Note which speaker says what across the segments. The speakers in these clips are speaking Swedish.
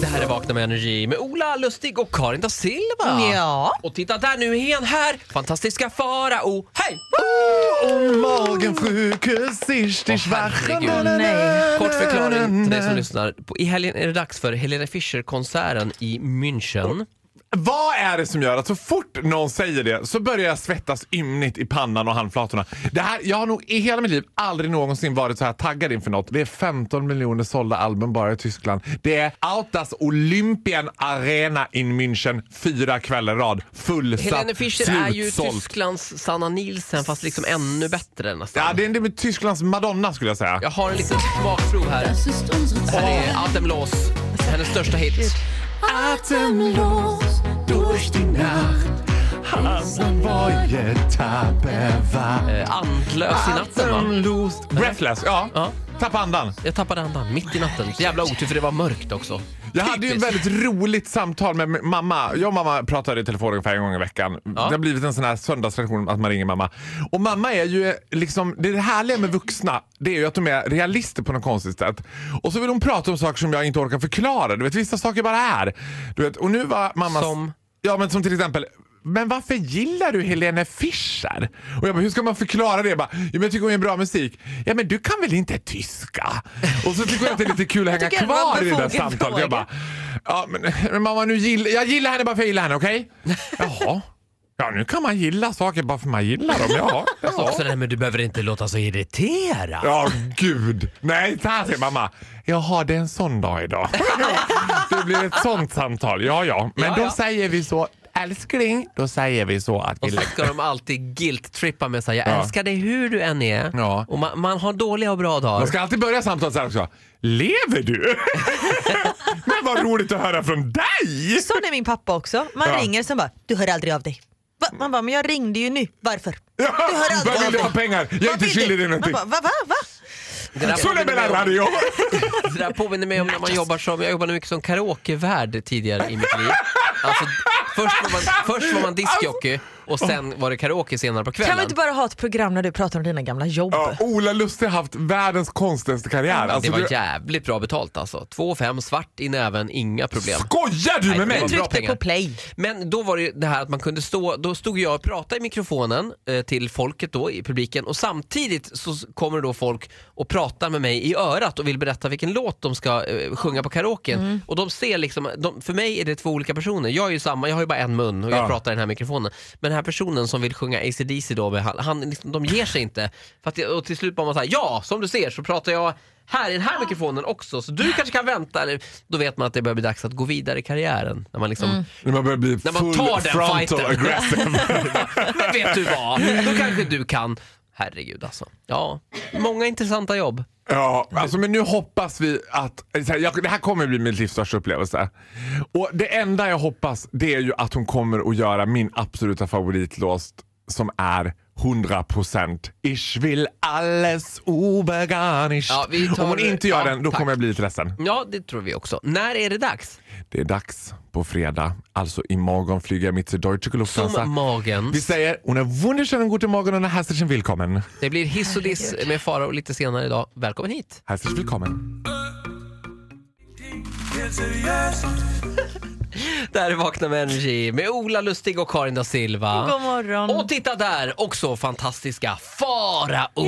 Speaker 1: Det här är Vakna med Energy med Ola Lustig och Karin da Silva.
Speaker 2: Ja.
Speaker 1: Och titta där, nu är han här! Fantastiska Farao. Hej!
Speaker 3: Und morgen früh küsse ich dich
Speaker 1: Oh,
Speaker 3: wach.
Speaker 1: herregud.
Speaker 3: Na, na, na,
Speaker 2: Nej.
Speaker 1: Kort förklaring till dig som
Speaker 3: na.
Speaker 1: lyssnar. På- I helgen är det dags för Helena Fischer-konserten i München.
Speaker 3: Vad är
Speaker 4: är det som gör att så fort någon säger det så börjar jag svettas ymnigt i pannan och handflatorna. Det här, jag har nog i hela mitt liv aldrig någonsin varit så här taggad inför något. Det är 15 miljoner sålda album bara i Tyskland. Det är Autas Olympian Arena in München fyra kvällar i rad. Fullsatt,
Speaker 1: Helene Fischer är ju
Speaker 4: slutsålt.
Speaker 1: Tysklands Sanna Nielsen fast liksom ännu bättre nästan.
Speaker 4: Ja, det är med Tysklands Madonna skulle jag säga.
Speaker 1: Jag har en liten smakprov här. Det här är Atemlås, hennes största hit.
Speaker 3: Atemlos durch die Nacht. Haben neue Tappe war.
Speaker 1: Eh, Andlös i natten va?
Speaker 4: Atemlos. Breathless, ja.
Speaker 1: Ja.
Speaker 4: Tappa andan.
Speaker 1: Jag tappade andan mitt i natten. Jävla otur för det var mörkt också.
Speaker 4: Jag hade ju ett
Speaker 1: Typiskt.
Speaker 4: väldigt roligt samtal med min mamma. Jag och mamma pratar i telefon ungefär en gång i veckan. Det har blivit en sån här söndagstradition att man ringer mamma. Och mamma är ju liksom, det härliga med vuxna det är ju att de är realister på något konstigt sätt. Och så vill hon prata om saker som jag inte orkar förklara. Du vet vissa saker bara är. Du vet, och nu var mamma...
Speaker 1: Som?
Speaker 4: Ja men som till exempel men varför gillar du Helene Fischer? Och jag bara, hur ska man förklara det? Jag, bara, "Jo, men jag tycker hon gör bra musik. Ja men du kan väl inte tyska? Och så tycker jag att det är lite kul att hänga
Speaker 2: tycker det var
Speaker 4: kvar i det där
Speaker 2: befogen
Speaker 4: samtalet.
Speaker 2: fråga.
Speaker 4: Jag bara, ja, men, men mamma, nu gill, jag gillar henne bara för jag gillar henne, okej? Jaha. Ja, nu kan man gilla saker bara för man gillar dem. Ja, ja.
Speaker 1: Också det här med du behöver inte låta så irriterad.
Speaker 4: Ja, gud. Nej, så här säger mamma. Jaha, det är en sån dag idag. Det blir ett sånt samtal. Ja, ja. Men
Speaker 1: Ja,
Speaker 4: då
Speaker 1: ja.
Speaker 4: säger vi så, älskling, då säger vi så att vi
Speaker 1: Och så ska de alltid guilt-trippa med såhär, jag älskar dig hur du än är.
Speaker 4: Ja.
Speaker 1: Och man, man har dåliga och bra dagar.
Speaker 4: Man ska alltid börja samtalet så här också. Lever du? Men vad roligt att höra från dig!
Speaker 2: Sån är min pappa också. Man
Speaker 4: Ja.
Speaker 2: ringer sen bara, du hör aldrig av dig. Va? Man bara, men jag ringde ju nu. Varför?
Speaker 4: Ja,
Speaker 2: Du hör aldrig
Speaker 4: vad
Speaker 2: av
Speaker 4: vill du
Speaker 2: dig.
Speaker 4: ha pengar? Jag är
Speaker 2: Vad
Speaker 4: inte
Speaker 2: vill du?
Speaker 4: skyldig dig någonting.
Speaker 2: Man bara, va, va, va?
Speaker 1: Det där
Speaker 4: Sulle
Speaker 1: påminner mig om-
Speaker 4: Bellaradio!
Speaker 1: Det där påminner mig om när man jobbar som, jag jobbade mycket som karaokevärd tidigare i mitt liv. Alltså, först, var man, först var man diskjockey och sen var det karaoke senare på
Speaker 2: Kan vi
Speaker 1: kvällen.
Speaker 2: inte bara ha ett program när du pratar om dina gamla jobb?
Speaker 4: Ja, Ola Lustig har haft världens konstigaste karriär.
Speaker 1: Det
Speaker 4: Alltså,
Speaker 1: var
Speaker 4: du-
Speaker 1: jävligt bra betalt alltså. Två och fem svart i näven, inga problem.
Speaker 4: Skojar du med
Speaker 1: Nej,
Speaker 4: mig?
Speaker 1: det var bra
Speaker 2: Tryck dig
Speaker 1: pengar.
Speaker 2: på play.
Speaker 1: Men då var det ju det här att man kunde stå, då stod jag och pratade i mikrofonen eh, till folket då i publiken och samtidigt så s- kommer då folk och pratar med mig i örat och vill berätta vilken låt de ska eh, sjunga på karaoken. Och de ser liksom, de, för mig är det två olika personer. Jag är ju samma, jag har ju bara en mun och jag
Speaker 4: Ja.
Speaker 1: pratar i den här mikrofonen. Men den här personen som vill sjunga ACDC då, med, han, han, liksom, de ger sig inte. För att, det- och till slut bara man såhär, ja som du ser så pratar jag här i den här mikrofonen också så du kanske kan vänta. Eller, då vet man att det börjar bli dags att gå vidare i karriären. När man liksom
Speaker 4: När man börjar bli
Speaker 1: När
Speaker 4: full
Speaker 1: man tar den
Speaker 4: frontal
Speaker 1: fighten.
Speaker 4: aggressive.
Speaker 1: Men vet du vad, då kanske du kan. Herregud alltså. Ja, många intressanta jobb.
Speaker 4: Ja, alltså, men nu hoppas vi att... så här, jag, det här kommer bli min livs största upplevelse. Och det enda jag hoppas det är ju att hon kommer att göra min absoluta favoritlåt som är 100% Ich will alles obegarnischt.
Speaker 1: Ja, vi tar-
Speaker 4: Om hon inte gör
Speaker 1: ja,
Speaker 4: den, då
Speaker 1: tack.
Speaker 4: kommer jag bli lite ledsen.
Speaker 1: Ja, det tror vi också. När är det dags?
Speaker 4: Det är dags på fredag. Alltså imorgon flyger jag mitt till Deutsche Lufthansa.
Speaker 1: Som magen.
Speaker 4: Vi säger, hon är wunderschönen guten Morgen och herzlichen willkommen.
Speaker 1: Det blir hiss och diss med Farao lite senare idag. Välkommen hit.
Speaker 4: Herzlich willkommen.
Speaker 1: Där är Vakna med Energy med Ola Lustig och Karin da Silva.
Speaker 2: God morgon.
Speaker 1: Och titta där, också fantastiska Farao.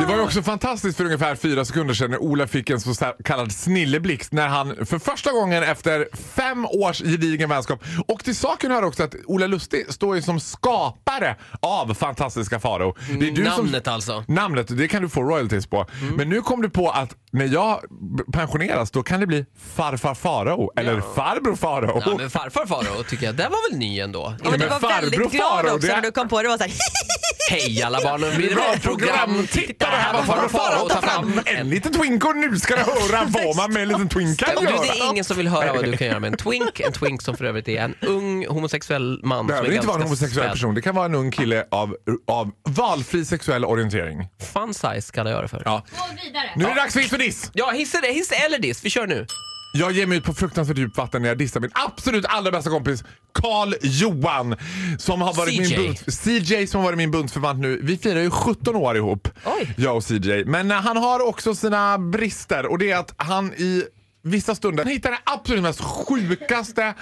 Speaker 4: Det var ju också fantastiskt för ungefär fyra sekunder sedan när Ola fick en så kallad snilleblixt när han för första gången efter fem års gedigen vänskap och till saken hör också att Ola Lustig står ju som skapare av Fantastiska Faro. Det är
Speaker 1: Namnet alltså. Mm.
Speaker 4: Namnet, det kan du få royalties på. Men nu kom du på att när jag b- pensioneras då kan det bli farfar Farao eller farbror Farao.
Speaker 1: Ja, men farfar Farao tycker jag, den var väl ny ändå?
Speaker 2: Ja, men du
Speaker 4: men
Speaker 2: var väldigt
Speaker 4: farbror
Speaker 2: glad
Speaker 4: Faro,
Speaker 2: också
Speaker 4: det-
Speaker 2: när du kom på det. det var så här,
Speaker 1: Hej alla barnen, vi är
Speaker 4: Bra
Speaker 1: ett program.
Speaker 4: program. Titta, det här var Farao Farao tar fram en en liten twink och nu ska du höra vad man med en liten twink kan
Speaker 1: Du,
Speaker 4: göra.
Speaker 1: det är ingen som vill höra vad du kan göra med en twink. En twink som för övrigt är en ung homosexuell man.
Speaker 4: Det
Speaker 1: som
Speaker 4: behöver inte vara en
Speaker 1: ganska
Speaker 4: homosexuell
Speaker 1: späd.
Speaker 4: person, det kan vara en ung kille av, av valfri sexuell orientering.
Speaker 1: Fun size kallar jag det för. Ja,
Speaker 4: Ja.
Speaker 5: Gå vidare.
Speaker 4: Nu är det dags för hiss och diss!
Speaker 1: hiss, eller- hiss eller diss. Vi kör nu.
Speaker 4: Jag ger mig ut på fruktansvärt djupt vatten när jag dissar min absolut allra bästa kompis Carl Johan. Som har varit
Speaker 1: CJ.
Speaker 4: min bunt, CJ som har varit min bundsförvant nu. Vi firar ju 17 år ihop,
Speaker 2: Oj.
Speaker 4: jag och CJ. Men eh, han har också sina brister och det är att han i Vissa stunder hittar den absolut mest sjukaste,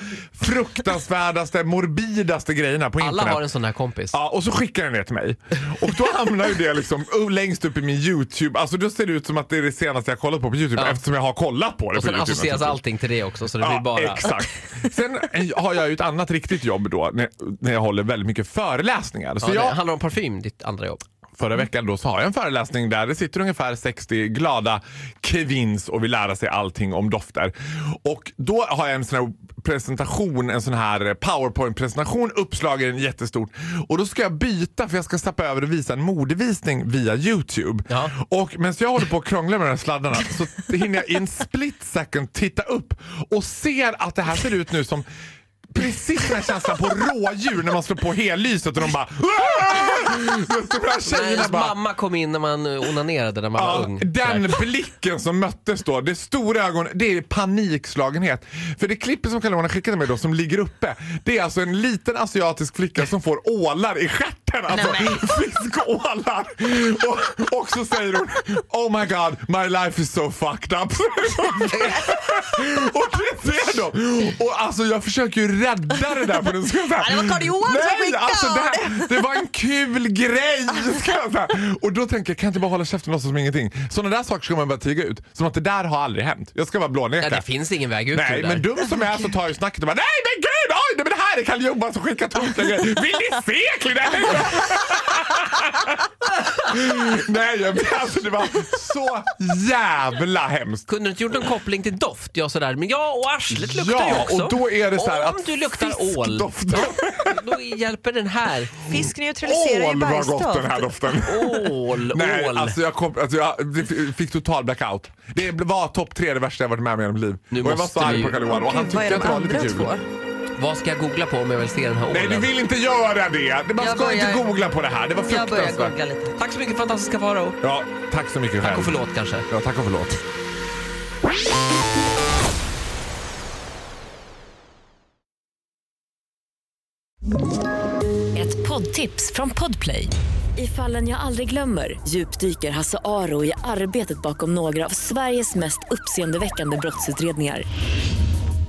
Speaker 4: fruktansvärdaste, morbidaste grejerna på internet.
Speaker 1: Alla har en sån här kompis.
Speaker 4: Ja, och så skickar den det till mig. Och då hamnar ju det liksom oh, längst upp i min YouTube. Alltså då ser det ut som att det är det senaste jag kollat på på YouTube
Speaker 1: Ja.
Speaker 4: eftersom jag har kollat på det
Speaker 1: Och
Speaker 4: på
Speaker 1: sen
Speaker 4: YouTube.
Speaker 1: associeras
Speaker 4: naturligtvis.
Speaker 1: allting till det också så det blir
Speaker 4: Ja,
Speaker 1: bara...
Speaker 4: exakt. Sen har jag ju ett annat riktigt jobb då när, när jag håller väldigt mycket föreläsningar. Så
Speaker 1: Ja, det
Speaker 4: jag,
Speaker 1: handlar om parfym, ditt andra jobb.
Speaker 4: förra veckan då så har jag en föreläsning där det sitter ungefär 60 glada kevins och vill lära sig allting om dofter. Och då har jag en sån här presentation, en sån här powerpoint-presentation uppslagen jättestort. Och då ska jag byta för jag ska stappa över och visa en modevisning via Youtube.
Speaker 1: Ja.
Speaker 4: Och medan jag håller på och krånglar med de här sladdarna så hinner jag i en split second titta upp och ser att det här ser ut nu som Precis den här känslan på rådjur när man slår på hellyset och de bara... Vet du, De här
Speaker 1: När
Speaker 4: tjejerna
Speaker 1: ens
Speaker 4: bara...
Speaker 1: mamma kom in när man eh, onanerade när man var
Speaker 4: Ja,
Speaker 1: ung.
Speaker 4: den blicken som möttes då, det stora ögonen, det är panikslagenhet. För det klippet som Carl-Johan har skickat till mig då som ligger uppe, det är alltså en liten asiatisk flicka som får ålar i stjärten. Alltså fiskålar. Och, och så säger hon Oh my god, my life is so fucked up. och det är det då. Och alltså jag försöker ju rädda det där. På den, ska jag säga.
Speaker 2: Ja, det var Carl-Johan som
Speaker 4: Nej,
Speaker 2: skickade.
Speaker 4: alltså det, här, det var en kul grej! ska jag säga. Och då tänker jag, kan jag inte bara hålla käften och låtsas som ingenting? Sådana där saker ska man bara tiga ut. Som att det där har aldrig hänt. Jag ska bara blåneka.
Speaker 1: Ja, det finns ingen väg ut
Speaker 4: Nej,
Speaker 1: ur det
Speaker 4: men
Speaker 1: där.
Speaker 4: dum som jag är så tar jag ju snacket och bara nej men gud, oj, nej, men det här är Kalle Johan som skickar tomten. Vill ni se Klinell? nej, jag, alltså det var så jävla hemskt.
Speaker 1: Kunde du inte gjort någon koppling till doft? Ja, sådär. Men ja, och arslet luktar ju
Speaker 4: Ja,
Speaker 1: också.
Speaker 4: och då är det så här
Speaker 1: Om
Speaker 4: att
Speaker 1: du luktar ål,
Speaker 4: fiskdoften-
Speaker 1: ja, då hjälper den här.
Speaker 2: Fisk neutraliserar ju
Speaker 4: Ål vad gott den
Speaker 2: bajsdoft.
Speaker 4: här doften.
Speaker 1: Ål,
Speaker 4: Nej,
Speaker 1: ål.
Speaker 4: alltså jag, kom, alltså jag det fick total blackout. Det var topp tre det värsta jag varit med om i hela mitt liv.
Speaker 1: Nu
Speaker 4: och jag var
Speaker 1: måste
Speaker 4: så arg
Speaker 1: vi-
Speaker 4: på karl johan och han
Speaker 2: Gud, vad
Speaker 4: tyckte
Speaker 2: är
Speaker 4: att
Speaker 2: de
Speaker 4: det var lite
Speaker 2: andra
Speaker 4: kul.
Speaker 2: två?
Speaker 1: Vad ska jag googla på om jag vill se den här ålen?
Speaker 4: Nej, du vill inte göra det! Man
Speaker 2: Jag
Speaker 4: ska inte
Speaker 2: börjar-
Speaker 4: googla på det här. Det var
Speaker 2: Jag börjar googla
Speaker 4: fruktansvärt.
Speaker 2: lite.
Speaker 1: Tack så mycket fantastiska Farao.
Speaker 4: Ja, tack så mycket själv.
Speaker 1: Tack och förlåt kanske.
Speaker 4: Ja, tack och förlåt.
Speaker 6: Ett poddtips från Podplay. I fallen jag aldrig glömmer djupdyker Hasse Aro i arbetet bakom några av Sveriges mest uppseendeväckande brottsutredningar.